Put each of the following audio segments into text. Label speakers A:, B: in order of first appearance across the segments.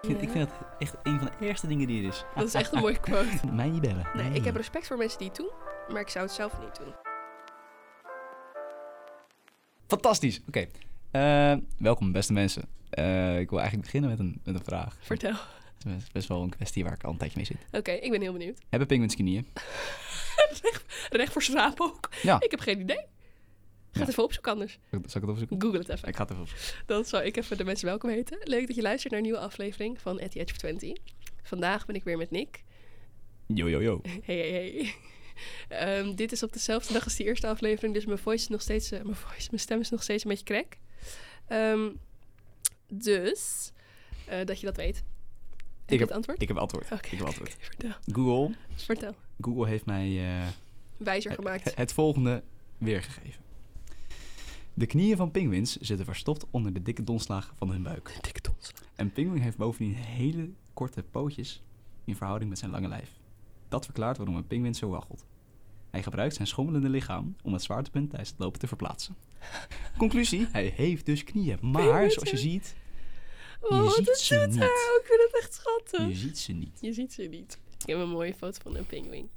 A: Ik vind, ik vind dat echt een van de eerste dingen die er is.
B: Dat is echt een mooie quote.
A: Mij niet bellen.
B: Nee, ik heb respect voor mensen die het doen, maar ik zou het zelf niet doen.
A: Fantastisch. Oké. Eh, welkom, beste mensen. Eh, ik wil eigenlijk beginnen met een, met een vraag.
B: Vertel.
A: Het is best- best wel een kwestie waar ik al een tijdje mee zit.
B: Oké, ik ben heel benieuwd.
A: Hebben penguins knieën?
B: Recht voor schraap ook.
A: Ja.
B: Ik heb geen idee. Ga
A: Ja.
B: het even opzoeken anders.
A: Zal ik het opzoeken?
B: Google het even.
A: Ik ga het even opzoeken.
B: Dan zou ik even de mensen welkom heten. Leuk dat je luistert naar een nieuwe aflevering van At the Edge of 20. Vandaag ben ik weer met Nick.
A: Yo, yo, yo.
B: Hey, hey, hey. Ehm, dit is op dezelfde dag als die eerste aflevering, dus mijn voice is nog steeds, eh, mijn, voice, mijn stem is nog steeds een beetje krek. Ehm, dus, eh, dat je dat weet. Heb je
A: heb-
B: het antwoord?
A: Ik heb antwoord.
B: Oké,
A: Ik heb
B: oké,
A: antwoord.
B: oké, vertel.
A: Google,
B: Vertel.
A: Google heeft mij eh,
B: Wijzer
A: het,
B: gemaakt.
A: het volgende weergegeven. De knieën van penguins zitten verstopt onder de dikke donslagen van hun buik.
B: Dikke dons.
A: Een pinguïn heeft bovendien hele korte pootjes in verhouding met zijn lange lijf. Dat verklaart waarom een pinguïn zo waggelt. Hij gebruikt zijn schommelende lichaam om het zwaartepunt tijdens het lopen te verplaatsen. Conclusie, hij heeft dus knieën, maar
B: Pinguïns
A: zoals je
B: hebben-
A: ziet,
B: Oh,
A: ziet
B: dat
A: ze
B: doet
A: niet.
B: hij ook. Ik vind het echt schattig.
A: je ziet ze niet.
B: Je ziet ze niet. Ik heb een mooie foto van een pinguïn.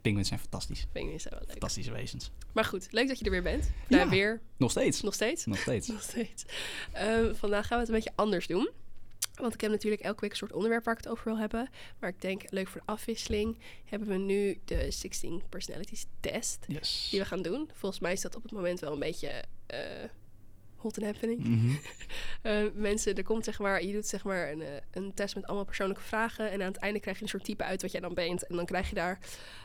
A: Pinguïns zijn fantastisch,
B: Pinguïns zijn wel leuk.
A: fantastische wezens.
B: Maar goed, leuk dat je er weer bent. Daar
A: Ja.
B: weer.
A: Nog steeds,
B: Nog steeds.
A: nog steeds.
B: Nog steeds. Eh, vandaag gaan we het een beetje anders doen. Want ik heb natuurlijk elke week een soort onderwerp waar ik het over wil hebben. Maar ik denk, leuk voor de afwisseling, hebben we nu de 16 Personalities Test
A: Yes.
B: die we gaan doen. Volgens mij is dat op het moment wel een beetje eh, hot and happening.
A: Mhm.
B: Eh, mensen, er komt zeg maar, je doet zeg maar een, eh, een test met allemaal persoonlijke vragen. En aan het einde krijg je een soort type uit wat jij dan bent. En dan krijg je daar,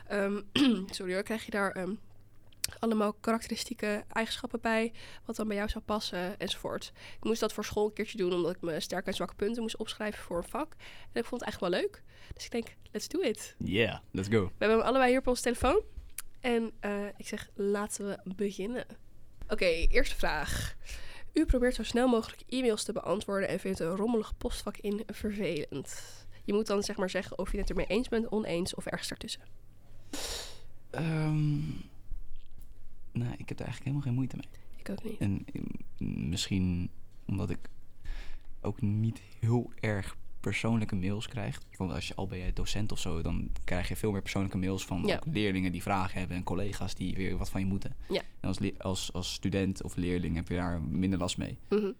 B: ehm, sorry hoor, krijg je daar ehm, allemaal karakteristieke eigenschappen bij. Wat dan bij jou zou passen enzovoort. Ik moest dat voor school een keertje doen, omdat ik mijn sterke en zwakke punten moest opschrijven voor een vak. En ik vond het eigenlijk wel leuk. Dus ik denk, let's do it.
A: Yeah, let's go.
B: We hebben hem allebei hier op onze telefoon. En eh, ik zeg, laten we beginnen. Oké, eerste vraag. U probeert zo snel mogelijk e-mails te beantwoorden en vindt een rommelig postvak in vervelend. Je moet dan zeg maar zeggen of je het ermee eens bent, oneens of ergens daartussen.
A: Ehm, nou, ik heb er eigenlijk helemaal geen moeite mee.
B: Ik ook niet.
A: En mm, misschien omdat ik ook niet heel erg persoonlijke mails krijg. Want als je al ben je docent of zo, dan krijg je veel meer persoonlijke mails van
B: Ja.
A: ook leerlingen die vragen hebben en collega's die weer wat van je moeten.
B: Ja.
A: En als, le- als, als student of leerling heb je daar minder last mee.
B: Mhm.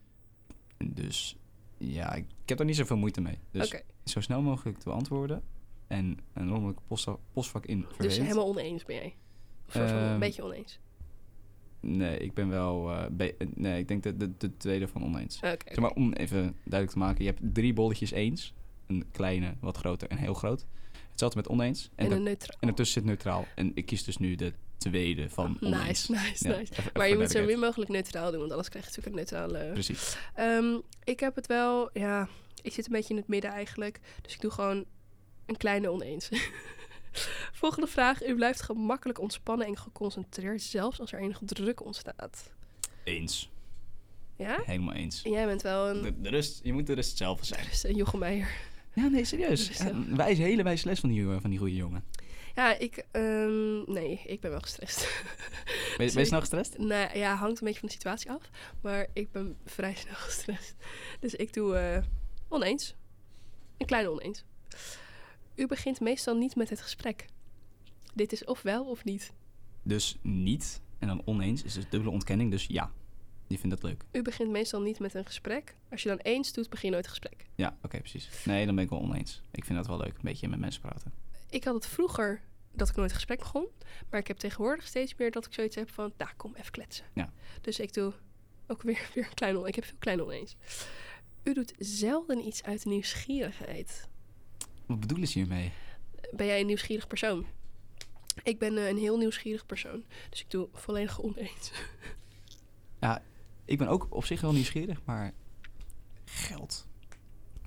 A: En Dus ja, ik, ik heb daar niet zoveel moeite mee. Dus
B: Oké,
A: zo snel mogelijk te beantwoorden en een normelijk posta- postvak in
B: dus
A: verwezen.
B: helemaal oneens ben jij? Of soort van
A: Ehm,
B: een beetje oneens?
A: Nee, ik ben wel... eh, be- nee, ik denk de, de, de tweede van oneens.
B: Oké.
A: Zeg maar, om even duidelijk te maken. Je hebt drie bolletjes eens. Een kleine, wat groter en heel groot. Hetzelfde met oneens. En,
B: en
A: daar-
B: een neutraal.
A: en ertussen zit neutraal. En ik kies dus nu de tweede van oneens.
B: Nice, nice,
A: Ja,
B: nice.
A: even- even
B: Maar je
A: voor
B: moet zo min
A: duidelijkheid.
B: mogelijk neutraal doen, want anders krijg je natuurlijk een neutrale...
A: Precies.
B: Ehm, ik heb het wel, ja, ik zit een beetje in het midden eigenlijk. Dus ik doe gewoon een kleine oneens. Volgende vraag. U blijft gemakkelijk ontspannen en geconcentreerd, zelfs als er enige druk ontstaat.
A: Eens.
B: Ja?
A: Helemaal eens.
B: En jij bent wel een,
A: De, de rust, je moet de rust zelf zijn.
B: dus een Jochem Meijer.
A: Ja, nee, serieus.
B: De rust
A: Ja,
B: zelf.
A: een wijze, hele wijze les van die, jongen- van die goede jongen.
B: Ja, ik, ehm, nee, ik ben wel gestrest.
A: Ben je, ben je
B: Zeker.
A: snel gestrest?
B: nou ja, hangt een beetje van de situatie af. Maar ik ben vrij snel gestrest. Dus ik doe eh, oneens. Een kleine oneens. U begint meestal niet met het gesprek. Dit is of wel of niet.
A: Dus niet. En dan oneens is dus dubbele ontkenning. Dus ja, je vindt dat leuk.
B: U begint meestal niet met een gesprek. Als je dan eens doet, begin je nooit een gesprek.
A: Ja, oké, precies. Nee, dan ben ik wel oneens. Ik vind dat wel leuk. Een beetje met mensen praten.
B: Ik had het vroeger dat ik nooit een gesprek begon. Maar ik heb tegenwoordig steeds meer dat ik zoiets heb van... Nou, kom even kletsen.
A: Ja.
B: Dus ik doe ook weer, weer een klein oneens. Ik heb veel klein oneens. U doet zelden iets uit nieuwsgierigheid.
A: Wat bedoelen ze hiermee?
B: Ben jij een nieuwsgierig persoon? Ik ben eh, een heel nieuwsgierig persoon. Dus ik doe volledig oneens.
A: Ja, ik ben ook op zich wel nieuwsgierig, maar geld.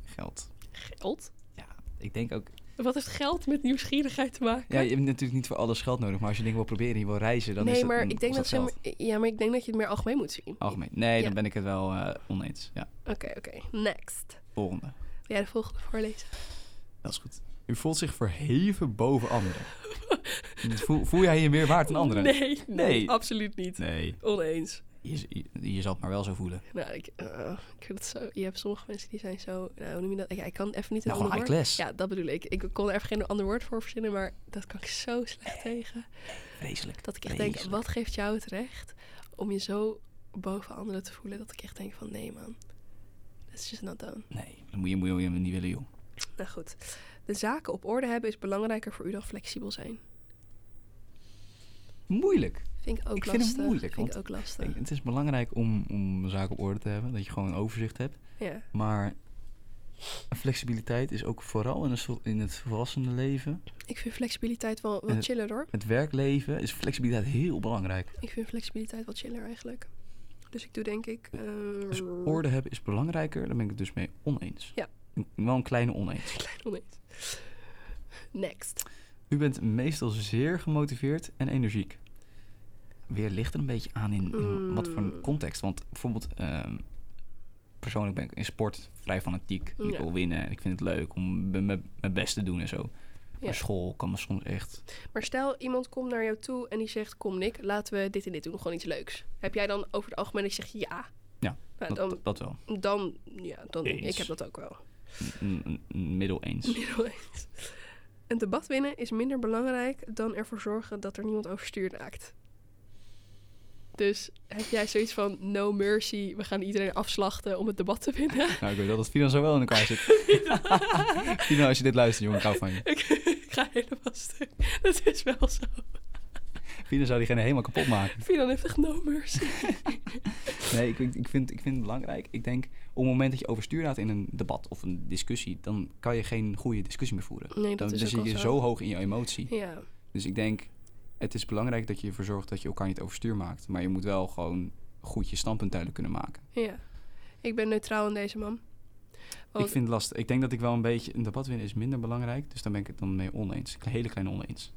A: Geld.
B: Geld?
A: Ja, ik denk ook.
B: Wat heeft geld met nieuwsgierigheid te maken?
A: Ja, je hebt natuurlijk niet voor alles geld nodig, maar als je dingen wil proberen, je wil reizen, dan is
B: nee,
A: dat,
B: maar
A: dan
B: ik denk dat
A: kost
B: ze...
A: geld.
B: hem- Ja, maar ik denk dat je het meer algemeen moet zien.
A: Algemeen. Nee,
B: Ja.
A: dan ben ik het wel eh, oneens. Ja,
B: Oké, oké. Next.
A: volgende.
B: Wil jij de volgende voorlezen?
A: Dat is goed. U voelt zich verheven boven anderen. voel, voel jij je meer waard dan anderen?
B: Nee, nee,
A: Nee.
B: absoluut niet.
A: Nee.
B: Oneens.
A: Je, je, je zal het maar wel zo voelen.
B: Nou, ik, eh, ik vind het zo. Je hebt sommige mensen die zijn zo. Nou, hoe noem je dat? Ik, ik kan even niet een
A: Nou, gewoon
B: ander
A: high class.
B: woord. Ja, dat bedoel ik. Ik kon er even geen ander woord voor verzinnen, maar dat kan ik zo slecht tegen.
A: Vreselijk.
B: Dat ik echt denk,
A: Vreselijk.
B: wat geeft jou het recht om je zo boven anderen te voelen? Dat ik echt denk van nee man, that's just not done.
A: Nee, dat moet je, moet je, moet je niet willen, joh.
B: Nou goed, de zaken op orde hebben is belangrijker voor u dan flexibel zijn.
A: Moeilijk.
B: Vind ik ook
A: Ik vind het
B: lastig.
A: moeilijk,
B: Vind ik
A: want
B: ook lastig.
A: Ik- Het is belangrijk om, om zaken op orde te hebben, dat je gewoon een overzicht hebt.
B: Ja.
A: Maar flexibiliteit is ook vooral in, een soort- in het volwassene leven.
B: Ik vind flexibiliteit wel, wel
A: En het-
B: chiller hoor.
A: Het werkleven is flexibiliteit heel belangrijk.
B: Ik vind flexibiliteit wel chiller eigenlijk. Dus ik doe denk ik... eh,
A: Dus orde hebben is belangrijker, daar ben ik het dus mee oneens.
B: Ja.
A: Een- Wel een kleine oneens.
B: Klein oneens. Next.
A: U bent meestal zeer gemotiveerd en energiek. Weer ligt er een beetje aan in, in wat voor een
B: Mm.
A: context. Want bijvoorbeeld, ehm, persoonlijk ben ik in sport vrij fanatiek. Ik
B: Ja.
A: wil winnen en ik vind het leuk om m- m- mijn best te doen en zo.
B: Ja.
A: Maar school kan me soms echt...
B: Maar stel, iemand komt naar jou toe en die zegt... Kom Nick, laten we dit en dit doen. Gewoon iets leuks. Heb jij dan over het algemeen dat je zegt ja?
A: Ja,
B: Nou,
A: Dat,
B: dan,
A: dat wel.
B: dan, ja, dan
A: Eens.
B: ik heb dat ook wel.
A: Een- een- een Middel eens.
B: Middel eens. Een debat winnen is minder belangrijk dan ervoor zorgen dat er niemand overstuur raakt. Dus heb jij zoiets van no mercy, we gaan iedereen afslachten om het debat te winnen?
A: Nou, ik weet wel dat Finan zo wel in elkaar zit. Finan, als je dit luistert, jongen, ik hou van je.
B: ik, ik ga helemaal stuk. Dat is wel zo.
A: Finan zou diegene helemaal kapot maken.
B: Finan heeft echt no mercy.
A: Nee, ik, ik, vind, ik vind het belangrijk. Ik denk, op het moment dat je overstuur raakt in een debat of een discussie, dan kan je geen goede discussie meer voeren.
B: Nee,
A: Dan,
B: dat is
A: dan
B: ook
A: zit
B: wel
A: je zo hoog in je emotie.
B: Ja,
A: Dus ik denk, het is belangrijk dat je ervoor zorgt dat je elkaar niet overstuur maakt. Maar je moet wel gewoon goed je standpunt duidelijk kunnen maken.
B: ja. Ik ben neutraal in deze man. Want
A: Ik vind het lastig. Ik denk dat ik wel een beetje... Een debat winnen is minder belangrijk, dus daar ben ik het dan mee oneens. Een hele kleine oneens.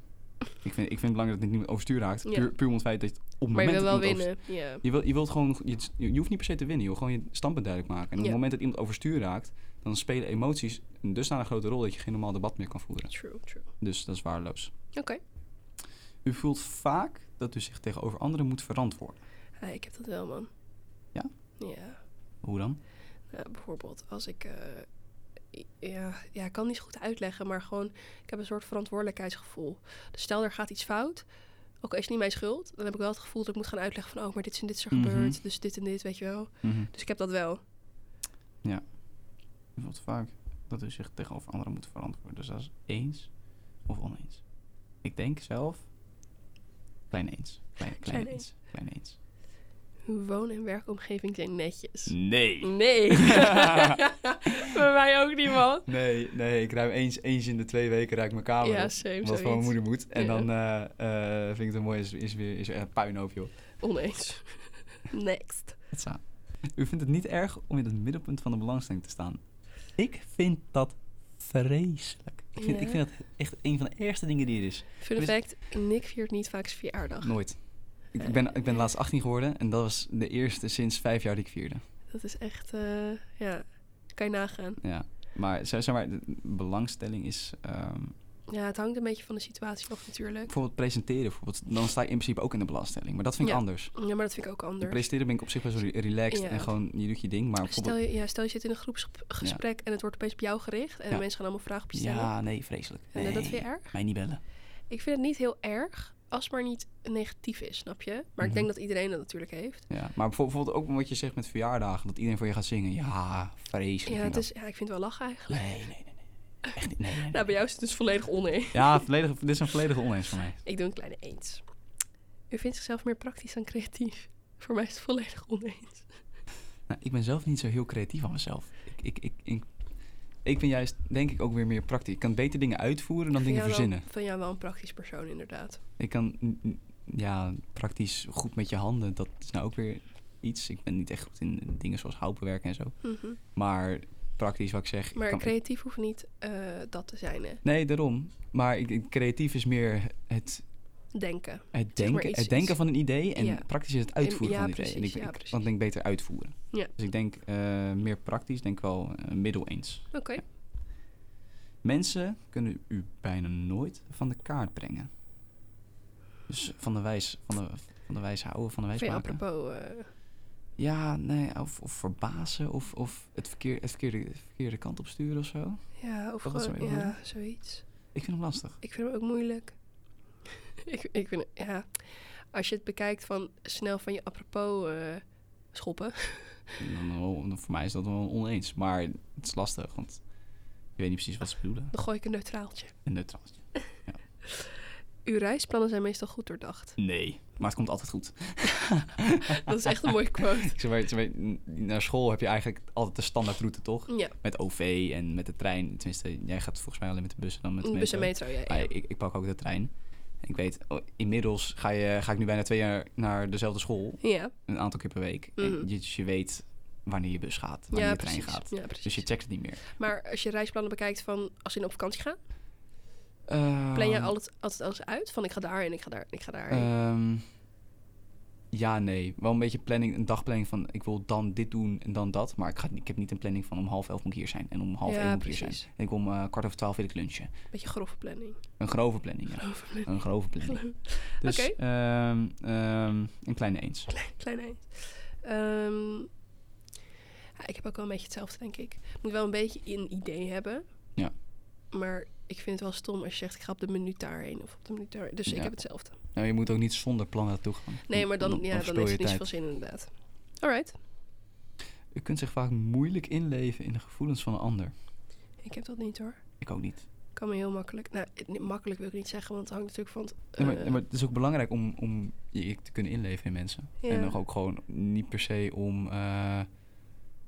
A: Ik vind, ik vind het belangrijk dat het niemand overstuur raakt.
B: Ja.
A: Puur, puur om het feit dat je het op het
B: maar je
A: moment
B: wil
A: dat
B: wel
A: iemand overstuur-
B: winnen. Ja.
A: Je, wil, je wilt gewoon, je, je hoeft niet per se te winnen, joh. gewoon je standpunt duidelijk maken. En op
B: Ja.
A: het moment dat iemand overstuur raakt, dan spelen emoties een dusdanig grote rol dat je geen normaal debat meer kan voeren.
B: True, true.
A: Dus dat is waardeloos.
B: Oké.
A: U voelt vaak dat u zich tegenover anderen moet verantwoorden.
B: Ah, ik heb dat wel, man.
A: Ja?
B: Ja.
A: Hoe dan?
B: Nou, bijvoorbeeld als ik. eh, i- ja, ja, ik kan het niet zo goed uitleggen, maar gewoon. Ik heb een soort verantwoordelijkheidsgevoel. Dus stel er gaat iets fout. Ook al is het niet mijn schuld, dan heb ik wel het gevoel dat ik moet gaan uitleggen van. Oh, maar dit is en dit is er
A: Mhm.
B: gebeurd. Dus dit en dit, weet je wel. Dus ik heb dat wel.
A: U voelt vaak dat u zich tegenover anderen moet verantwoorden. Dus dat is eens of oneens. Ik denk zelf klein eens. Klein, klein,
B: Klein
A: eens. Klein eens.
B: Uw woon- en werkomgeving zijn netjes.
A: Nee.
B: Nee. Bij mij ook niet, man.
A: Nee, nee, ik ruim eens, eens in de twee weken ruik mijn kamer
B: ja,
A: op.
B: same.
A: Wat van mijn
B: Zoiets.
A: moeder moet. En
B: Ja.
A: dan eh, eh, vind ik het een mooi, is, is weer is, eh, puinhoop, joh.
B: Oneens. Next.
A: Het staat. U vindt het niet erg om in het middelpunt van de belangstelling te staan. Ik vind dat vreselijk. Ik vind, ik
B: Ja.
A: vind dat echt een van de ergste dingen die er is.
B: Fun
A: Wist-
B: fact: Nick viert niet vaak zijn verjaardag.
A: Nooit. Ik, ik ben, ik ben laatst 18 geworden en dat was de eerste sinds vijf jaar die ik vierde.
B: Dat is echt. eh, ja, kan je nagaan.
A: Ja. Maar, zeg zeg maar de belangstelling is ehm,
B: Ja, het hangt een beetje van de situatie af natuurlijk.
A: bijvoorbeeld presenteren. Bijvoorbeeld, dan sta je in principe ook in de belangstelling. Maar dat vind ik
B: Ja.
A: anders.
B: Ja, maar dat vind ik ook
A: In
B: anders.
A: presenteren ben ik op zich best wel re- relaxed
B: Ja.
A: en gewoon je doet je ding. Maar bijvoorbeeld
B: Stel je, ja, stel je zit in een groepsgesprek en het wordt opeens op jou gericht. En
A: Ja.
B: de mensen gaan allemaal vragen op je stellen.
A: Ja, nee, vreselijk.
B: En
A: nee.
B: dat vind je erg?
A: Mij niet bellen.
B: Ik vind het niet heel erg als het maar niet negatief is, snap je? Maar ik denk
A: Mhm.
B: dat iedereen dat natuurlijk heeft.
A: Ja, maar bijvo- bijvoorbeeld ook wat je zegt met verjaardagen, dat iedereen voor je gaat zingen. Ja, vreselijk.
B: Ja,
A: vind
B: het
A: ik
B: is, ja ik vind het wel lachen
A: dat.
B: eigenlijk.
A: Nee, nee, nee, nee. Echt niet. Nee, nee, nee.
B: Nou, bij jou is het dus volledig oneens.
A: Ja, volledig, dit is een volledige oneens van mij.
B: Ik doe een kleine eens. U vindt zichzelf meer praktisch dan creatief. Voor mij is het volledig oneens.
A: Nou, ik ben zelf niet zo heel creatief aan mezelf. Ik, ik, ik, ik, ik ben juist, denk ik, ook weer meer praktisch. Ik kan beter dingen uitvoeren dan
B: Vind
A: dingen
B: jij wel-
A: verzinnen.
B: Vind jij wel een praktisch persoon inderdaad.
A: Ik kan, mm, mm, ja, praktisch goed met je handen. Dat is nou ook weer iets. Ik ben niet echt goed in dingen zoals houtbewerken en zo.
B: Mhm.
A: Maar praktisch, wat ik zeg. ik
B: Maar
A: kan-
B: creatief hoeft niet eh, dat te zijn, hè?
A: Nee, daarom. Maar ik, ik- creatief is meer het,
B: Denken.
A: het,
B: Zeg maar
A: denken,
B: iets-
A: het denken van een idee en
B: Ja.
A: praktisch is het uitvoeren
B: ja,
A: van een idee. En
B: precies,
A: ik,
B: ja,
A: ik-
B: precies.
A: want ik denk beter uitvoeren.
B: Ja.
A: Dus ik denk eh, meer praktisch, denk wel eh, middel eens.
B: Oké.
A: Mensen kunnen u bijna nooit van de kaart brengen. Dus van de wijs, van de, van de wijs houden, van de wijs
B: Vind je
A: maken.
B: apropos eh,
A: Ja, nee, of, of verbazen of, of het, verkeer, het verkeerde, de verkeerde kant op sturen of zo.
B: Ja, of
A: Dat was
B: gewoon,
A: hem even.
B: ja, zoiets.
A: Ik vind hem lastig.
B: Ik vind hem ook moeilijk. ik, ik vind, het- ja, als je het bekijkt van snel van je apropos eh, schoppen.
A: Dan, oh, dan voor mij is dat wel oneens. Maar het is lastig, want je weet niet precies wat ze bedoelen.
B: Dan gooi ik een neutraaltje.
A: Een neutraaltje.
B: Uw reisplannen zijn meestal goed doordacht.
A: Nee, maar het komt altijd goed.
B: Dat is echt een mooie quote.
A: Ik zeg maar, zeg maar, n- naar school heb je eigenlijk altijd de standaardroute, toch?
B: Ja,
A: Met OV en met de trein. Tenminste, jij gaat volgens mij alleen met de bus en dan met de
B: Dus een bus en
A: metro. Ah,
B: metro. Ja, ja.
A: Maar ik, ik pak ook de trein. En ik weet, oh, inmiddels ga, je, ga ik nu bijna twee jaar naar dezelfde school.
B: ja,
A: Een aantal keer per week. En
B: Mhm.
A: je- dus je weet wanneer je bus gaat, wanneer
B: ja,
A: je trein
B: precies.
A: gaat.
B: ja,
A: Dus je
B: precies.
A: checkt het niet meer.
B: Maar als je reisplannen bekijkt van als je op vakantie gaat,
A: Ehm,
B: plan jij altijd, altijd alles uit? Van ik ga daarheen, ik ga daar, ik ga daarheen.
A: ehm, ja, nee. Wel een beetje planning, een dagplanning van ik wil dan dit doen en dan dat. Maar ik, ga, ik heb niet een planning van om half elf moet ik hier zijn en om half
B: Ja,
A: één moet ik hier zijn.
B: precies.
A: En ik om eh, kwart over twaalf wil ik lunchen.
B: Beetje grove planning.
A: Een grove planning, ja.
B: Grove planning.
A: Een grove planning. Dus
B: Oké.
A: ehm, ehm, een kleine eens.
B: Klein eind. Ehm, ja, ik heb ook wel een beetje hetzelfde, denk ik. Ik moet wel een beetje een idee hebben.
A: Ja.
B: Maar ik vind het wel stom als je zegt, ik ga op de minuut daarheen of op de minuut daarheen. Dus ik
A: Ja.
B: heb hetzelfde.
A: Nou, je moet ook niet zonder plan naartoe gaan.
B: Nee, maar dan, ja, dan
A: verspil
B: heeft
A: je
B: het niet
A: tijd.
B: zoveel zin inderdaad. Alright,
A: Je kunt zich vaak moeilijk inleven in de gevoelens van een ander.
B: ik heb dat niet hoor.
A: Ik ook niet.
B: Kan me heel makkelijk. Nou, het- niet- makkelijk wil ik niet zeggen, want het hangt natuurlijk van het.
A: Nee, maar,
B: eh,
A: nee, maar het is ook belangrijk om, om je te kunnen inleven in mensen.
B: Ja.
A: En nog ook gewoon niet per se om eh,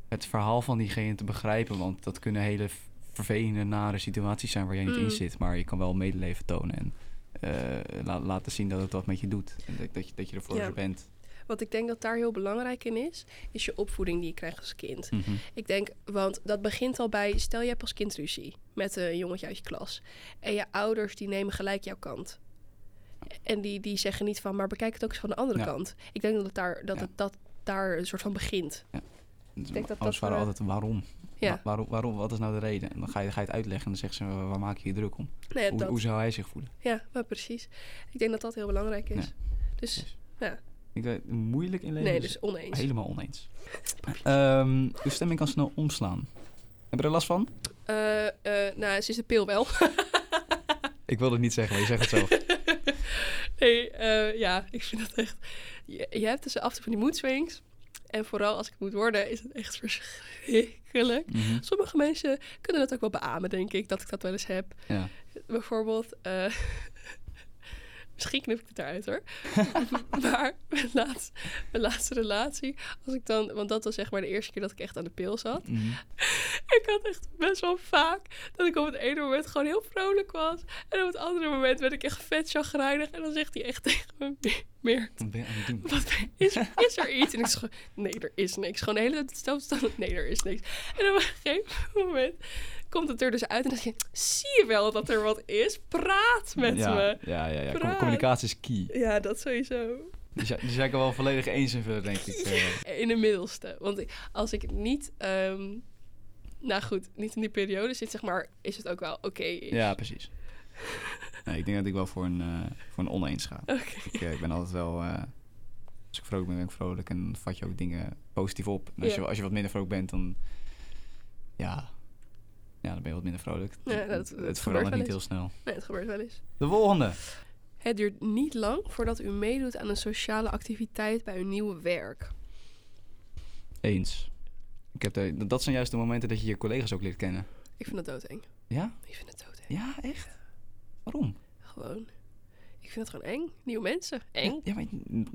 A: het verhaal van diegene te begrijpen. Want dat kunnen hele v- vervelende, nare situaties zijn waar jij niet
B: Mm.
A: in zit. Maar je kan wel medeleven tonen en eh, la- laten zien dat het wat met je doet. En dat, dat, je, dat je ervoor
B: Ja.
A: er bent.
B: Wat ik denk dat daar heel belangrijk in is, is je opvoeding die je krijgt als kind.
A: Mhm.
B: Ik denk, want dat begint al bij, stel je hebt als kind ruzie met een jongetje uit je klas. En je ouders die nemen gelijk jouw kant. En die, die zeggen niet van, maar bekijk het ook eens van de andere
A: Ja.
B: kant. Ik denk dat het daar, dat
A: Ja.
B: het, dat daar een soort van begint.
A: Ik
B: denk dat dat,
A: waren
B: eh,
A: altijd waarom.
B: Ja,
A: Wa- waarom? Waarom? Wat is nou de reden? En dan ga je, ga je het uitleggen en dan zegt ze, "Wa- waar maak je je druk om?
B: nee,
A: Hoe,
B: dat,
A: hoe zou hij zich voelen?
B: ja maar precies. Ik denk dat dat heel belangrijk is. Dus
A: Precies.
B: ja.
A: Ik weet, moeilijk in leven
B: nee,
A: is
B: dus oneens.
A: helemaal oneens. Ehm uw stemming kan snel omslaan. Heb je er last van?
B: Eh, eh, nou, ze is de pil wel.
A: Ik wil het niet zeggen, maar je zegt het zelf.
B: nee, eh, ja, ik vind dat echt... Je, je hebt dus af en toe van die mood swings. En vooral als ik het moet worden, is het echt verschrikkelijk.
A: Mhm.
B: Sommige mensen kunnen dat ook wel beamen, denk ik, dat ik dat wel eens heb.
A: ja.
B: Bijvoorbeeld, eh, misschien knip ik het eruit hoor. maar mijn laatste, mijn laatste relatie, als ik dan, want dat was zeg maar de eerste keer dat ik echt aan de pil zat.
A: Mhm.
B: Ik had echt best wel vaak dat ik op het ene moment gewoon heel vrolijk was. En op het andere moment werd ik echt vet chagrijnig. En dan zegt hij echt tegen me, "Me- Meert,
A: Wat ben je aan het doen?
B: wat is, is er iets? En ik zeg, nee, er is niks. Gewoon de hele tijd hetzelfde stand. Nee, er is niks. En op een gegeven moment komt het er dus uit. En dan zeg je, zie je wel dat er wat is? Praat met
A: ja,
B: me.
A: Ja, ja, ja. Com-
B: Praat.
A: communicatie is key.
B: Ja, dat sowieso.
A: Die zijn die zijn ik er wel volledig eens in verder, denk ik. eh.
B: In de middelste. Want als ik niet, ehm, nou goed, niet in die periode zit, zeg maar, is het ook wel oké.
A: Ja, precies. Nee, ik denk dat ik wel voor een, eh, voor een oneens ga.
B: Oké.
A: Ik, eh, ik ben altijd wel... eh, als ik vrolijk ben, ben ik vrolijk. En dan vat je ook dingen positief op. En als,
B: Ja.
A: je, als je wat minder vrolijk bent, dan... Ja, ja dan ben je wat minder vrolijk.
B: Ja, dat-
A: het
B: dat
A: het
B: gebeurt
A: verandert
B: wel
A: niet
B: eens.
A: heel snel.
B: Nee, het gebeurt wel eens.
A: De volgende.
B: Het duurt niet lang voordat u meedoet aan een sociale activiteit bij uw nieuwe werk.
A: Eens. Ik heb daar- dat zijn juist de momenten dat je je collega's ook leert kennen.
B: Ik vind dat doodeng.
A: Ja?
B: Ik vind het doodeng.
A: Ja, echt? Waarom?
B: Gewoon. Ik vind het gewoon eng. Nieuwe mensen. Eng.
A: Ja, maar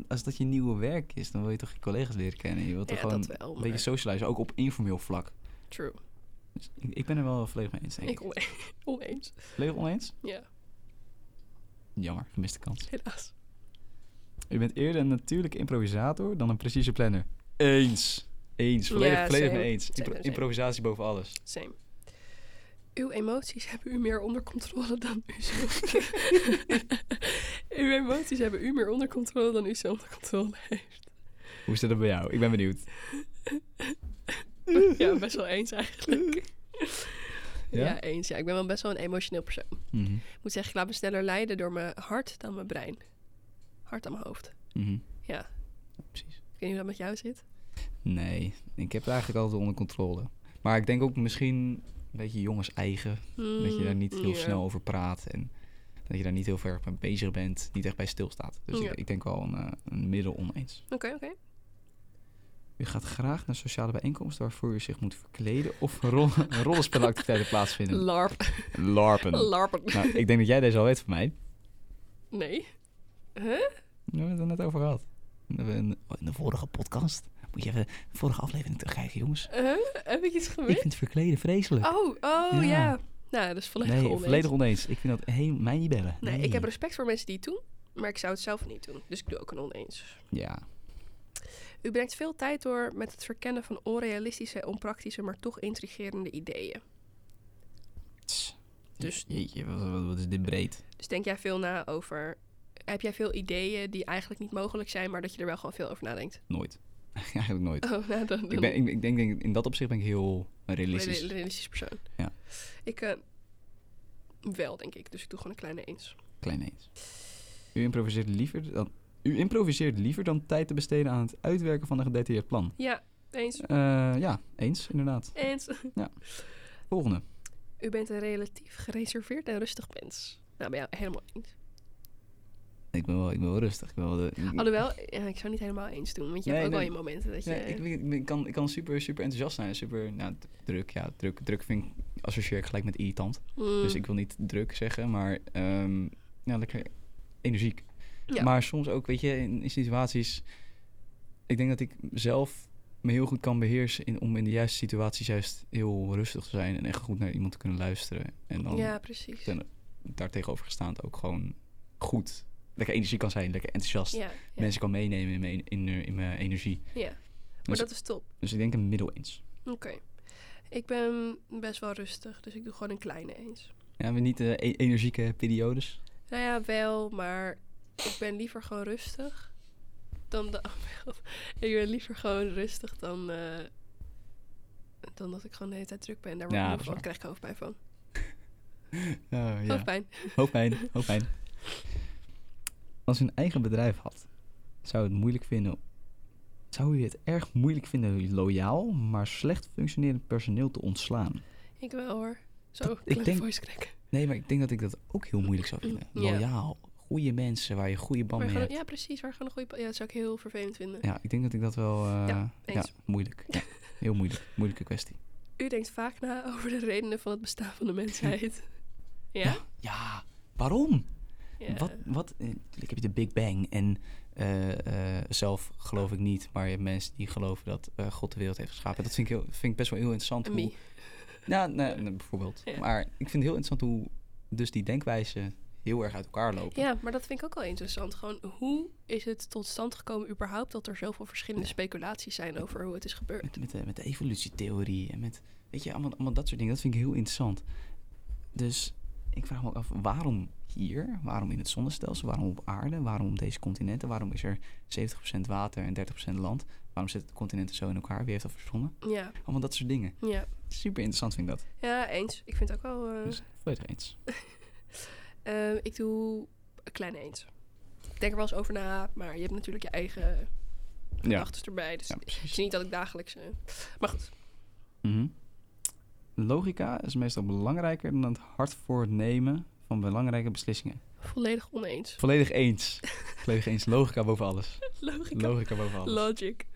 A: als dat je nieuwe werk is, dan wil je toch je collega's leren kennen. Je wilt toch
B: Ja,
A: gewoon
B: dat wel,
A: een beetje
B: maar-
A: socializen, ook op informeel vlak.
B: True.
A: Dus ik, ik ben er wel volledig mee eens, denk ik.
B: Ik one- oneens.
A: Volledig oneens?
B: Ja,
A: Jammer, gemiste kans.
B: helaas.
A: Je bent eerder een natuurlijke improvisator dan een precieze planner. Eens. Eens, volledig,
B: Ja,
A: volledig
B: same.
A: mee eens.
B: Same,
A: Impro-
B: same.
A: improvisatie boven alles.
B: Same. Uw emoties hebben u meer onder controle dan u zelf. Uw emoties hebben u meer onder controle dan u ze onder controle heeft.
A: Hoe zit dat bij jou? Ik ben benieuwd.
B: Ja, best wel eens eigenlijk. Ja?
A: Ja?
B: eens. Ja, ik ben wel best wel een emotioneel persoon.
A: Mhm.
B: Ik moet zeggen, ik laat me sneller leiden door mijn hart dan mijn brein. Hart dan mijn hoofd.
A: Mhm.
B: Ja.
A: Precies.
B: Ik weet niet hoe dat met jou zit.
A: Nee, ik heb het eigenlijk altijd onder controle. Maar ik denk ook misschien een beetje jongens eigen. dat je daar niet heel
B: Mm, ja.
A: snel over praat. En dat je daar niet heel ver mee bezig bent. Niet echt bij stilstaat. Dus
B: Ja.
A: ik, ik denk wel een, eh, een middel oneens.
B: Oké, oké.
A: U gaat graag naar sociale bijeenkomsten waarvoor u zich moet verkleden of rol rollenspelactiviteiten plaatsvinden.
B: LARP.
A: Larpen.
B: LARPen.
A: Nou, ik denk dat jij deze al weet van mij.
B: Nee.
A: We hebben het er net over gehad. We hebben een- oh, In de vorige podcast. Moet je even de vorige aflevering terugkijken, jongens.
B: Huh? Eh, Heb ik iets
A: Ik
B: gemist?
A: vind verkleden vreselijk.
B: Oh, oh ja.
A: Ja.
B: Nou, dat is volledig
A: nee,
B: oneens.
A: volledig oneens. Ik vind dat hey, mij niet bellen.
B: Nee, ik heb respect voor mensen die het doen, maar ik zou het zelf niet doen. Dus ik doe ook een oneens.
A: Ja,
B: U brengt veel tijd door met het verkennen van onrealistische, onpraktische, maar toch intrigerende ideeën.
A: Tss.
B: Dus-
A: Jeetje, wat, wat- wat is dit breed?
B: Dus denk jij veel na over... Heb jij veel ideeën die eigenlijk niet mogelijk zijn, maar dat je er wel gewoon veel over nadenkt?
A: Nooit. Eigenlijk nooit.
B: Oh, nou, dan,
A: Ik,
B: dan-
A: ben, ik, ik denk, denk- in dat opzicht ben ik heel realistisch.
B: Reali- realistisch persoon.
A: Ja.
B: Ik eh, wel, denk ik. Dus ik doe gewoon een kleine eens.
A: Klein eens. U improviseert, liever dan, u improviseert liever dan tijd te besteden aan het uitwerken van een gedetailleerd plan.
B: Ja, eens.
A: Eh, ja, eens, inderdaad.
B: Eens.
A: Volgende.
B: U bent een relatief gereserveerd en rustig mens. Nou, ben jou helemaal eens.
A: Ik ben wel, ik ben wel rustig. Ik ben wel de,
B: Alhoewel, ja, ik zou niet helemaal eens doen. Want je hebt ook
A: Nee,
B: wel je momenten dat je...
A: Nee, ik, ik, ik kan, ik kan super, super enthousiast zijn. Super nou, d- druk. Ja, druk, druk vind ik, associeer ik gelijk met irritant.
B: Mm,
A: Dus ik wil niet druk zeggen, maar ehm, ja, lekker energiek.
B: Ja.
A: Maar soms ook, weet je, in, in situaties... Ik denk dat ik zelf me heel goed kan beheersen in, om in de juiste situaties juist heel rustig te zijn en echt goed naar iemand te kunnen luisteren. En dan
B: ja, precies.
A: ten- daar tegenovergestaand ook gewoon goed, lekker energie kan zijn, lekker enthousiast.
B: Ja, ja,
A: Mensen kan meenemen in mijn, in, in mijn energie.
B: ja. Maar
A: Dus-
B: dat is top.
A: Dus ik denk een middel eens.
B: Oké. Ik ben best wel rustig, dus ik doe gewoon een kleine eens.
A: Ja, we niet eh, e- energieke periodes.
B: Nou ja, wel, maar ik ben liever gewoon rustig dan de. ik ben liever gewoon rustig dan. eh, dan dat ik gewoon de hele tijd druk ben. Daar word ik
A: Ja,
B: moe
A: dat is
B: van.
A: waar.
B: krijg ik hoofdpijn van.
A: Oh,
B: Hoofdpijn.
A: Hoofdpijn, hoofdpijn. Als u een eigen bedrijf had, zou u het moeilijk vinden. Zou u het erg moeilijk vinden loyaal, maar slecht functionerend personeel te ontslaan?
B: Ik wel hoor. Zo,
A: Dat- ik
B: kleine
A: denk-
B: voice crack.
A: Nee, maar ik denk dat ik dat ook heel moeilijk zou vinden.
B: Ja.
A: Loyaal, goede mensen waar je goede band
B: Waar
A: mee
B: gewoon-
A: hebt.
B: ja, precies. Waar gewoon een goede. pa- Ja, dat zou ik heel vervelend vinden.
A: Ja, ik denk dat ik dat wel. eh,
B: Ja,
A: ja,
B: eens.
A: moeilijk. Ja, heel moeilijk. Moeilijke kwestie.
B: U denkt vaak na over de redenen van het bestaan van de mensheid. ja?
A: Ja, waarom?
B: Ja.
A: Wat, wat, eh, ik heb je de Big Bang en eh, eh, zelf geloof ik niet, maar je hebt mensen die geloven dat eh, God de wereld heeft geschapen. Dat vind ik, heel, vind ik best wel heel interessant.
B: Een
A: Hoe,
B: mie.
A: ja, nou, nou, bijvoorbeeld.
B: Ja.
A: Maar ik vind het heel interessant hoe dus die denkwijzen heel erg uit elkaar lopen.
B: Ja, maar dat vind ik ook wel interessant. Gewoon, hoe is het tot stand gekomen überhaupt dat er zoveel verschillende speculaties zijn over hoe het is gebeurd?
A: Met, met, de, met de evolutietheorie en met, weet je, allemaal, allemaal dat soort dingen. Dat vind ik heel interessant. Dus ik vraag me ook af, waarom hier? Waarom in het zonnestelsel? Waarom op aarde? Waarom op deze continenten? Waarom is er 70% water en 30% land? Waarom zitten de continenten zo in elkaar? Wie heeft dat verzonnen?
B: Ja,
A: Allemaal dat soort dingen.
B: ja.
A: Super interessant vind ik dat.
B: Ja, eens. Ik vind het ook wel... eh,
A: Dus volledig eens.
B: eh, ik doe een kleine eens. Ik denk er wel eens over na, maar je hebt natuurlijk je eigen gedachten erbij. Dus
A: ja
B: het
A: precies.
B: is niet dat ik dagelijks... eh, maar goed.
A: Mhm. Logica is meestal belangrijker dan het hard voornemen van belangrijke beslissingen.
B: Volledig oneens.
A: Volledig eens. volledig eens. Logica boven alles.
B: Logica.
A: Logica boven alles.
B: Logic.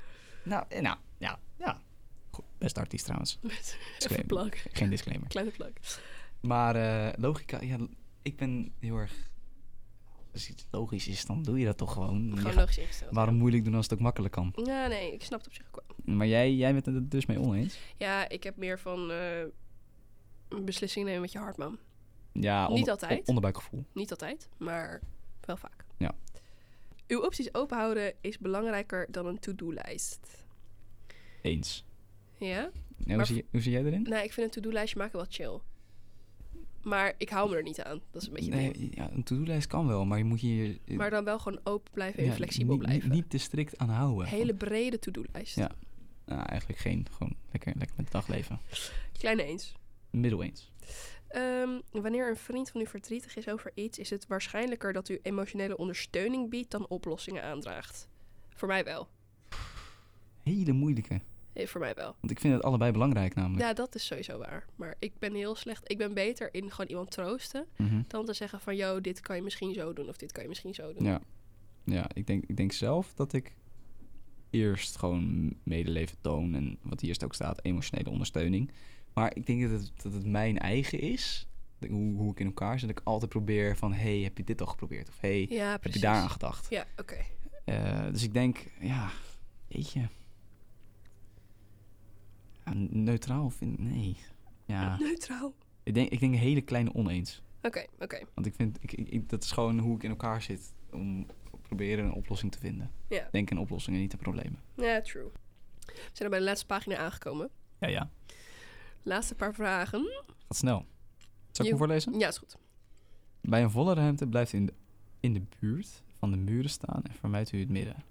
A: Nou, eh, nou, ja, ja. Goed, beste artiest trouwens.
B: Met
A: Disclaimer.
B: even plak.
A: Geen disclaimer.
B: Kleine plak.
A: Maar eh, logica, ja, ik ben heel erg... Als iets logisch is, dan doe je dat toch gewoon. Je
B: Gewoon
A: gaat-
B: logisch ingesteld.
A: waarom moeilijk doen als het ook makkelijk kan?
B: Ja, nee, ik snap het op zich ook wel.
A: Maar jij, jij bent het dus mee oneens?
B: Ja, ik heb meer van eh, een beslissing nemen met je hart, man.
A: Ja,
B: Niet altijd.
A: onderbuikgevoel.
B: Niet altijd, maar wel vaak.
A: Ja.
B: Uw opties openhouden is belangrijker dan een to-do-lijst.
A: Eens.
B: Ja?
A: Ja,
B: Maar
A: hoe, zie, je- hoe zie jij erin?
B: Nou, ik vind een to-do-lijstje maken wel chill. Maar ik hou me er niet aan. Dat is een beetje het ding.
A: Nee, ja, een to-do-lijst kan wel, maar je moet je... eh,
B: Maar dan wel gewoon open blijven en
A: ja,
B: flexibel
A: niet-
B: blijven.
A: Niet, niet te strikt aan houden.
B: Hele brede to-do-lijst.
A: Ja. Nou, eigenlijk geen. Gewoon lekker, lekker met het dagleven.
B: Kleine eens.
A: Middel eens.
B: Ehm, wanneer een vriend van u verdrietig is over iets, is het waarschijnlijker dat u emotionele ondersteuning biedt dan oplossingen aandraagt. Voor mij wel.
A: hele moeilijke.
B: Eh, Voor mij wel.
A: Want ik vind het allebei belangrijk namelijk.
B: Ja, dat is sowieso waar. Maar ik ben heel slecht. Ik ben beter in gewoon iemand troosten.
A: Mhm.
B: Dan te zeggen van, yo, dit kan je misschien zo doen. Of dit kan je misschien zo doen.
A: Ja, ja ik, denk, ik denk zelf dat ik eerst gewoon medeleven toon en wat hier ook staat, emotionele ondersteuning. Maar ik denk dat het, dat het mijn eigen is, de- hoe, hoe ik in elkaar zit. Dat ik altijd probeer van, hey, heb je dit al geprobeerd? Of hey,
B: Ja,
A: heb
B: precies.
A: je daaraan gedacht?
B: Ja, oké.
A: Eh, dus ik denk, ja, jeetje. Ja, neutraal of in- nee. Ja,
B: Neutraal.
A: ik denk, ik denk een hele kleine oneens.
B: Oké, oké.
A: Want ik vind, ik, ik- ik- dat is gewoon hoe ik in elkaar zit om proberen een oplossing te vinden.
B: Ja.
A: Denk aan oplossingen, niet aan problemen.
B: Ja, true. We zijn er bij de laatste pagina aangekomen.
A: Ja, ja.
B: Laatste paar vragen.
A: Gaat snel. Zal ik
B: Je-
A: hem voorlezen?
B: Ja, is goed.
A: Bij een volle ruimte blijft u in de, in de buurt van de muren staan en vermijdt u het midden.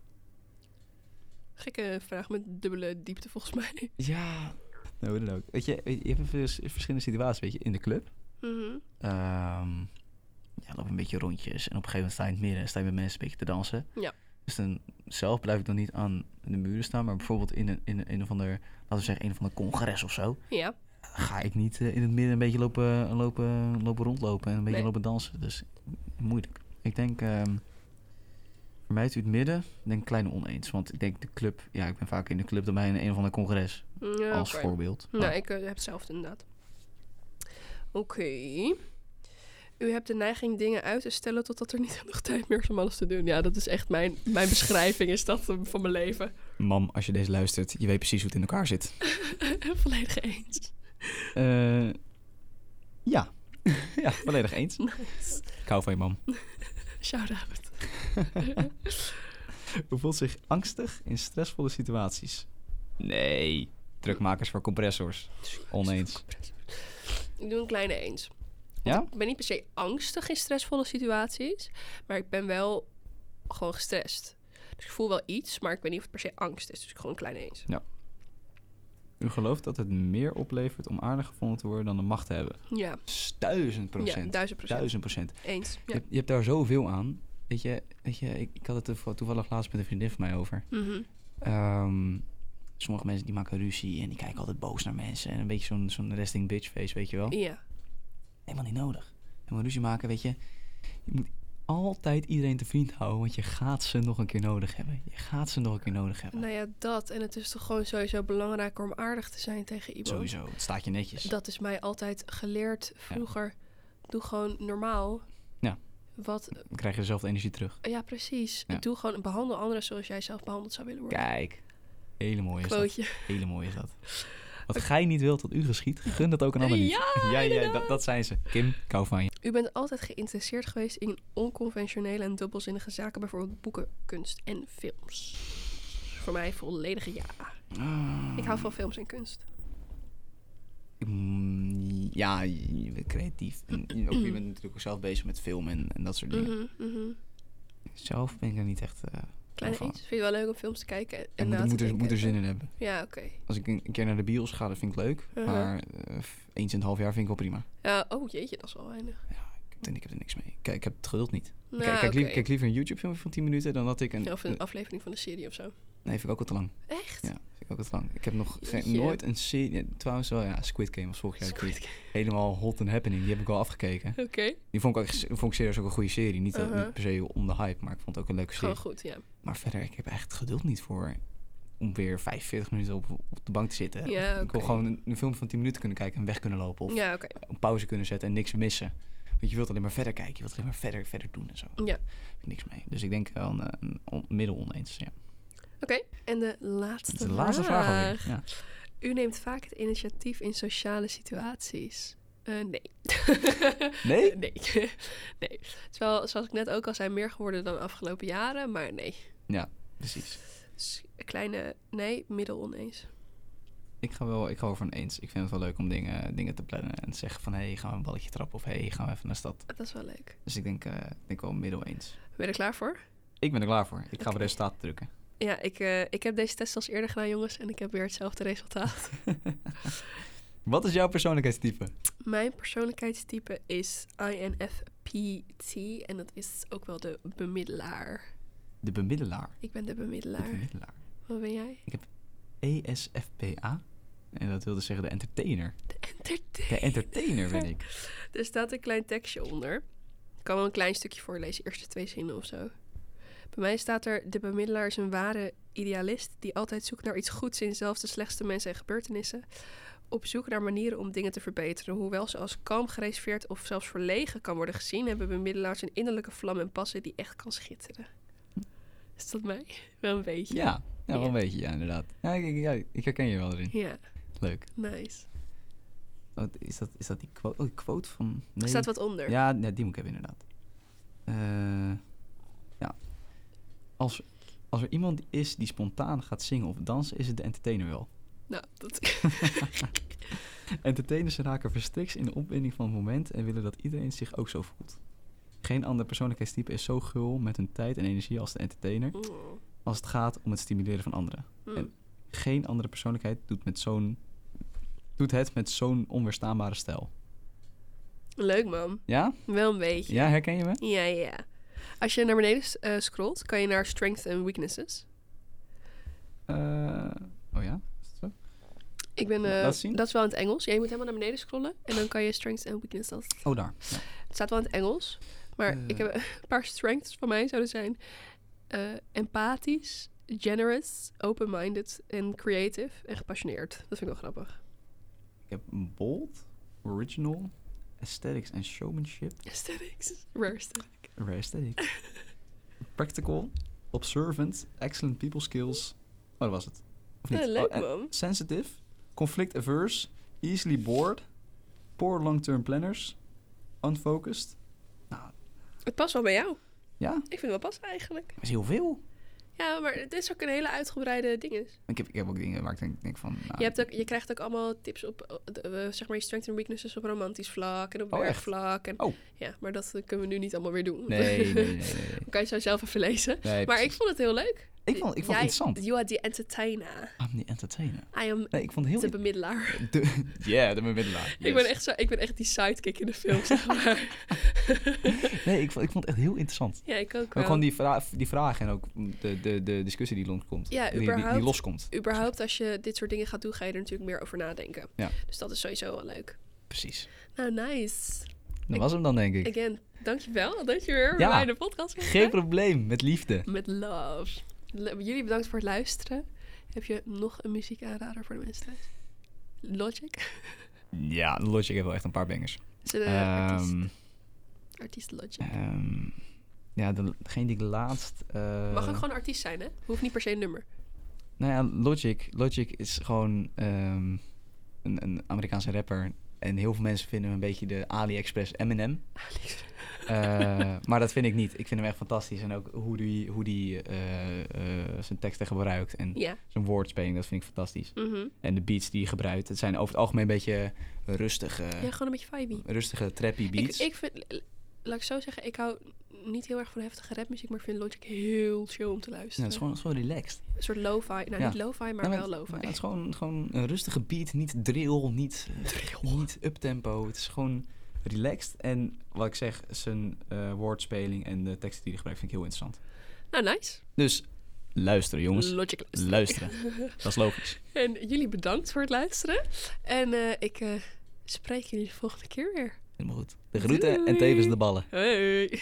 B: Gekke vraag met dubbele diepte volgens mij.
A: Ja. Nou, dat ook. Weet je, je hebt vers- verschillende situaties, weet je, in de club.
B: Mhm.
A: Ehm ja, loop een beetje rondjes. En op een gegeven moment sta je in het midden en sta je met mensen een beetje te dansen.
B: Ja.
A: Dus dan zelf blijf ik dan niet aan de muren staan, maar bijvoorbeeld in een, in een, een of ander, laten we zeggen, een of ander congres of zo.
B: Ja,
A: Ga ik niet eh, in het midden een beetje lopen, lopen, lopen rondlopen en een beetje
B: Nee.
A: lopen dansen. Dus moeilijk. Ik denk, ehm vermijd u het midden, denk kleine oneens. Want ik denk de club, ja, ik ben vaak in de club dan bij een, een of ander congres.
B: Ja,
A: als
B: oké.
A: voorbeeld.
B: Nou, ik eh, heb hetzelfde inderdaad. Oké. U hebt de neiging dingen uit te stellen totdat er niet genoeg tijd meer is om alles te doen. Ja, dat is echt mijn, mijn beschrijving is dat eh, van mijn leven.
A: Mam, als je deze luistert, je weet precies hoe het in elkaar zit.
B: Volledig eens.
A: Eh, ja. ja, volledig eens.
B: Nice.
A: Ik hou van je mam.
B: Shout out.
A: Hoe voelt zich angstig in stressvolle situaties? Nee. Drukmakers voor compressors. Oneens.
B: Ik doe een kleine eens.
A: Ja?
B: Ik ben niet per se angstig in stressvolle situaties, maar ik ben wel gewoon gestrest. Dus ik voel wel iets, maar ik weet niet of het per se angst is. Dus gewoon een kleine eens.
A: U gelooft dat het meer oplevert om aardig gevonden te worden dan de macht te hebben?
B: Ja,
A: Duizend
B: ja
A: procent.
B: duizend procent.
A: Duizend procent.
B: Eens.
A: Je,
B: Ja.
A: hebt- je hebt daar zoveel aan. Weet je, weet je ik, ik had het toev- toevallig laatst met een vriendin van mij over.
B: Mhm.
A: Ehm, sommige mensen die maken ruzie en die kijken altijd boos naar mensen. En een beetje zo'n zo'n resting bitch face, weet je wel.
B: Ja,
A: helemaal niet nodig. Helemaal ruzie maken, weet je. Je moet altijd iedereen te vriend houden, want je gaat ze nog een keer nodig hebben. Je gaat ze nog een keer nodig hebben.
B: nou ja, dat. En het is toch gewoon sowieso belangrijker om aardig te zijn tegen iemand.
A: Sowieso, het staat je netjes.
B: Dat is mij altijd geleerd vroeger. Doe gewoon normaal.
A: Ja.
B: Wat,
A: Dan krijg je dezelfde energie terug.
B: ja, precies.
A: Ja.
B: Doe gewoon, behandel anderen zoals jij zelf behandeld zou willen worden.
A: Kijk. Hele mooie is dat.
B: Quoteje.
A: Hele mooie is dat. Wat gij niet wilt dat u geschiet, gun dat ook een ander niet.
B: Ja,
A: ja,
B: inderdaad.
A: dat, dat zijn ze. Kim, ik hou van je.
B: U bent altijd geïnteresseerd geweest in onconventionele en dubbelzinnige zaken, bijvoorbeeld boeken, kunst en films. Voor mij volledig ja. Ik hou van films en kunst.
A: Mm, Ja, je bent creatief. En je- ook, je bent natuurlijk ook zelf bezig met film en, en dat soort dingen.
B: Mhm, mhm.
A: Zelf ben ik er niet echt... eh,
B: Kleine
A: van.
B: eens. Vind je wel leuk om films te kijken en,
A: en
B: na
A: moet,
B: te
A: moet, er,
B: denken?
A: moet er zin in hebben.
B: Ja, oké.
A: Als ik een een keer naar de bios ga, dat vind ik leuk.
B: Uh-huh.
A: Maar eh, f- eens in het half jaar vind ik wel prima.
B: Ja, oh jeetje, dat is wel weinig.
A: Ik heb, er- ik heb er niks mee. Kijk, ik heb het geduld niet.
B: Nou,
A: kijk, kijk, liever,
B: oké.
A: kijk liever een YouTube filmpje van 10 minuten dan dat ik een...
B: Ja, Of een
A: een-
B: aflevering van de serie of zo.
A: nee, vind ik ook wat te lang.
B: Echt?
A: Ja, vind ik ook wat te lang. Ik heb nog geen-
B: Jeetje.
A: nooit een serie... ja, Trouwens wel, ja, Squid Game was vorig jaar
B: Squid
A: natuurlijk helemaal hot and happening. Die heb ik wel afgekeken.
B: Oké.
A: Die vond ik, ook echt- vond ik serieus ook een goede serie. Niet, eh,
B: Uh-huh.
A: niet per se om de hype, maar ik vond het ook een leuke serie.
B: Gewoon goed, ja.
A: Maar verder, ik heb echt geduld niet voor om weer 45 minuten op, op de bank te zitten.
B: Ja,
A: Ik wil
B: oké.
A: gewoon een, een filmpje van 10 minuten kunnen kijken en weg kunnen lopen. Of
B: Ja, oké.
A: op pauze kunnen zetten en niks missen. Want je wilt alleen maar verder kijken, je wilt alleen maar verder, verder doen en zo.
B: Ja.
A: Daar heb ik niks mee. Dus ik denk wel een, eh, een on- middel oneens. Ja.
B: Oké, en de laatste
A: Dat is de laatste vraag alweer. Ja.
B: U neemt vaak het initiatief in sociale situaties. Eh, nee.
A: Nee?
B: nee. nee. Terwijl, zoals ik net ook al zei, meer geworden dan de afgelopen jaren, maar nee.
A: Precies.
B: Dus een kleine, nee, middel oneens.
A: Ik ga wel, ik ga wel voor een eens. Ik vind het wel leuk om dingen, dingen te plannen en te zeggen van hé, hey, gaan we een balletje trappen of hé, hey, gaan we even naar de stad.
B: Dat is wel leuk.
A: Dus ik denk, eh, ik denk wel middel eens.
B: Ben je er klaar voor?
A: Ik ben er klaar voor. Ik ga voor
B: Oké.
A: resultaten drukken.
B: Ja, ik, eh, ik heb deze test al eens eerder gedaan, jongens, en ik heb weer hetzelfde resultaat.
A: Wat is jouw persoonlijkheidstype?
B: Mijn persoonlijkheidstype is INFPT en dat is ook wel de bemiddelaar.
A: De bemiddelaar.
B: Ik ben de
A: De
B: bemiddelaar.
A: bemiddelaar. E
B: Wat ben jij?
A: ESFPA. En dat wil dus zeggen de entertainer. De
B: Entertainer.
A: entertainer ben ik.
B: Er staat een klein tekstje onder. Ik kan wel een klein stukje voorlezen, eerste twee zinnen of zo. Bij mij staat er: De bemiddelaar is een ware idealist die altijd zoekt naar iets goeds in zelfs de slechtste mensen en gebeurtenissen. Op zoek naar manieren om dingen te verbeteren. Hoewel ze als kalm, gereserveerd of zelfs verlegen kan worden gezien, hebben bemiddelaars een innerlijke vlam en passie die echt kan schitteren. Is dat mij? Wel een beetje.
A: Ja, ja wel een beetje, ja, inderdaad. Ja, ik, ik- ja, ik herken je wel erin.
B: Ja,
A: Leuk.
B: nice.
A: Wat is, dat, is dat die quote, oh, die quote van...
B: Er
A: Nee.
B: staat wat onder.
A: Ja, nee, die moet ik hebben inderdaad. Eh, ja. Als, als er iemand is die spontaan gaat zingen of dansen, is het de entertainer wel.
B: Nou, dat
A: Entertainers raken verstrikt in de opwinding van het moment en willen dat iedereen zich ook zo voelt. Geen ander persoonlijkheidstype is zo gul met hun tijd en energie als de entertainer
B: Oh.
A: als het gaat om het stimuleren van anderen.
B: Hm.
A: En- Geen andere persoonlijkheid doet, met zo'n, doet het met zo'n onweerstaanbare stijl.
B: Leuk man.
A: Ja?
B: Wel een beetje.
A: Ja, herken je me?
B: Ja, ja. ja. Als je naar beneden eh, scrolt, kan je naar strengths en weaknesses.
A: Eh, oh ja? Is dat zo?
B: Ik ben, eh,
A: Laat zien.
B: dat is wel in het Engels. Ja, je moet helemaal naar beneden scrollen en dan kan je strengths en weaknesses.
A: Oh, daar. Ja.
B: Het staat wel in het Engels, maar
A: Eh.
B: ik heb een paar strengths van mij zouden zijn eh, empathisch, generous, open-minded en creative en gepassioneerd. Dat vind ik wel grappig.
A: Ik heb bold, original, aesthetics en showmanship.
B: Aesthetics. Rare aesthetic.
A: Rare aesthetic. Practical, observant, excellent people skills. Oh, dat was het. Of niet?
B: Ja, leuk
A: Oh, en
B: man.
A: sensitive, conflict averse, easily bored, poor long-term planners, unfocused. Nou,
B: Het past wel bij jou.
A: ja, dat
B: Ik vind het wel passen eigenlijk.
A: is heel veel.
B: Ja, maar het is ook een hele uitgebreide ding. is.
A: Ik heb, ik heb ook dingen waar ik denk, denk van... nou,
B: Je, hebt ook, je krijgt ook allemaal tips op, eh, de- eh, zeg maar, je strengths en weaknesses op romantisch vlak en op
A: Oh, echt?
B: werkvlak. En,
A: Oh.
B: Ja, maar dat eh, kunnen we nu niet allemaal weer doen.
A: Nee, nee, nee, nee. nee.
B: Dan kan je zo zelf even lezen.
A: Nee,
B: maar ik
A: precies.
B: vond het heel leuk.
A: Ik vond, ik vond het interessant. Ah,
B: You are the entertainer.
A: I'm the entertainer.
B: I am
A: Nee, ik vond het
B: de
A: heel...
B: bemiddelaar.
A: De, yeah, de bemiddelaar.
B: Ik,
A: Yes.
B: ben echt zo, ik ben echt die sidekick in de film, zeg maar.
A: Nee, ik vond, ik vond het echt heel interessant.
B: ja, ik ook
A: Ook
B: wel.
A: gewoon die, vra die vragen en ook de, de, de discussie die loskomt.
B: Ja,
A: die, die, die
B: überhaupt.
A: loskomt.
B: Überhaupt, als je dit soort dingen gaat doen, ga je er natuurlijk meer over nadenken.
A: Ja.
B: Dus dat is sowieso wel leuk.
A: Precies.
B: Nou, nice.
A: Dat was hem dan, denk ik.
B: Again, dankjewel dat je weer bij
A: Ja.
B: mij in de podcast bent.
A: Geen probleem, met liefde.
B: Met love. Le- Jullie bedankt voor het luisteren. Heb je nog een muziekaanrader voor de mensen thuis? Logic?
A: Ja, Logic heeft wel echt een paar bangers.
B: Is een eh, artiest,
A: Ehm
B: artiest Logic.
A: ehm, ja, de, degene die ik laatst... eh,
B: Mag ook gewoon een artiest zijn, hè? Hoeft niet per se een nummer.
A: Nou ja, Logic, Logic is gewoon ehm, een, een Amerikaanse rapper. En heel veel mensen vinden hem een beetje de AliExpress Eminem. Eh, maar dat vind ik niet. Ik vind hem echt fantastisch. En ook hoe die, hoe die eh, eh, zijn teksten gebruikt en
B: ja.
A: zijn woordspeling, dat vind ik fantastisch.
B: mhm.
A: En de beats die hij gebruikt, het zijn over het algemeen een beetje rustige,
B: Ja, gewoon een beetje vibey.
A: rustige trappy
B: Ik,
A: Eh, beats.
B: ik vind, laat ik zo zeggen, ik hou niet heel erg van heftige rapmuziek, maar ik vind Logic heel chill om te
A: Ja,
B: luisteren.
A: het is gewoon, het is gewoon relaxed.
B: Een soort lo-fi. Nou,
A: Ja.
B: niet lo-fi, maar
A: Nou,
B: wel
A: het-
B: lo-fi.
A: nou, het is gewoon, gewoon een rustige beat, niet drill, niet, eh, niet uptempo. Het is gewoon relaxed. En wat ik zeg, zijn eh, woordspeling en de teksten die hij gebruikt vind ik heel interessant.
B: Nou, nice.
A: Dus luisteren jongens,
B: Logic luisteren.
A: luisteren. Dat is logisch.
B: En jullie bedankt voor het luisteren. En eh, ik eh, spreek jullie de volgende keer weer.
A: Helemaal goed. De groeten en tevens de ballen.
B: Hey.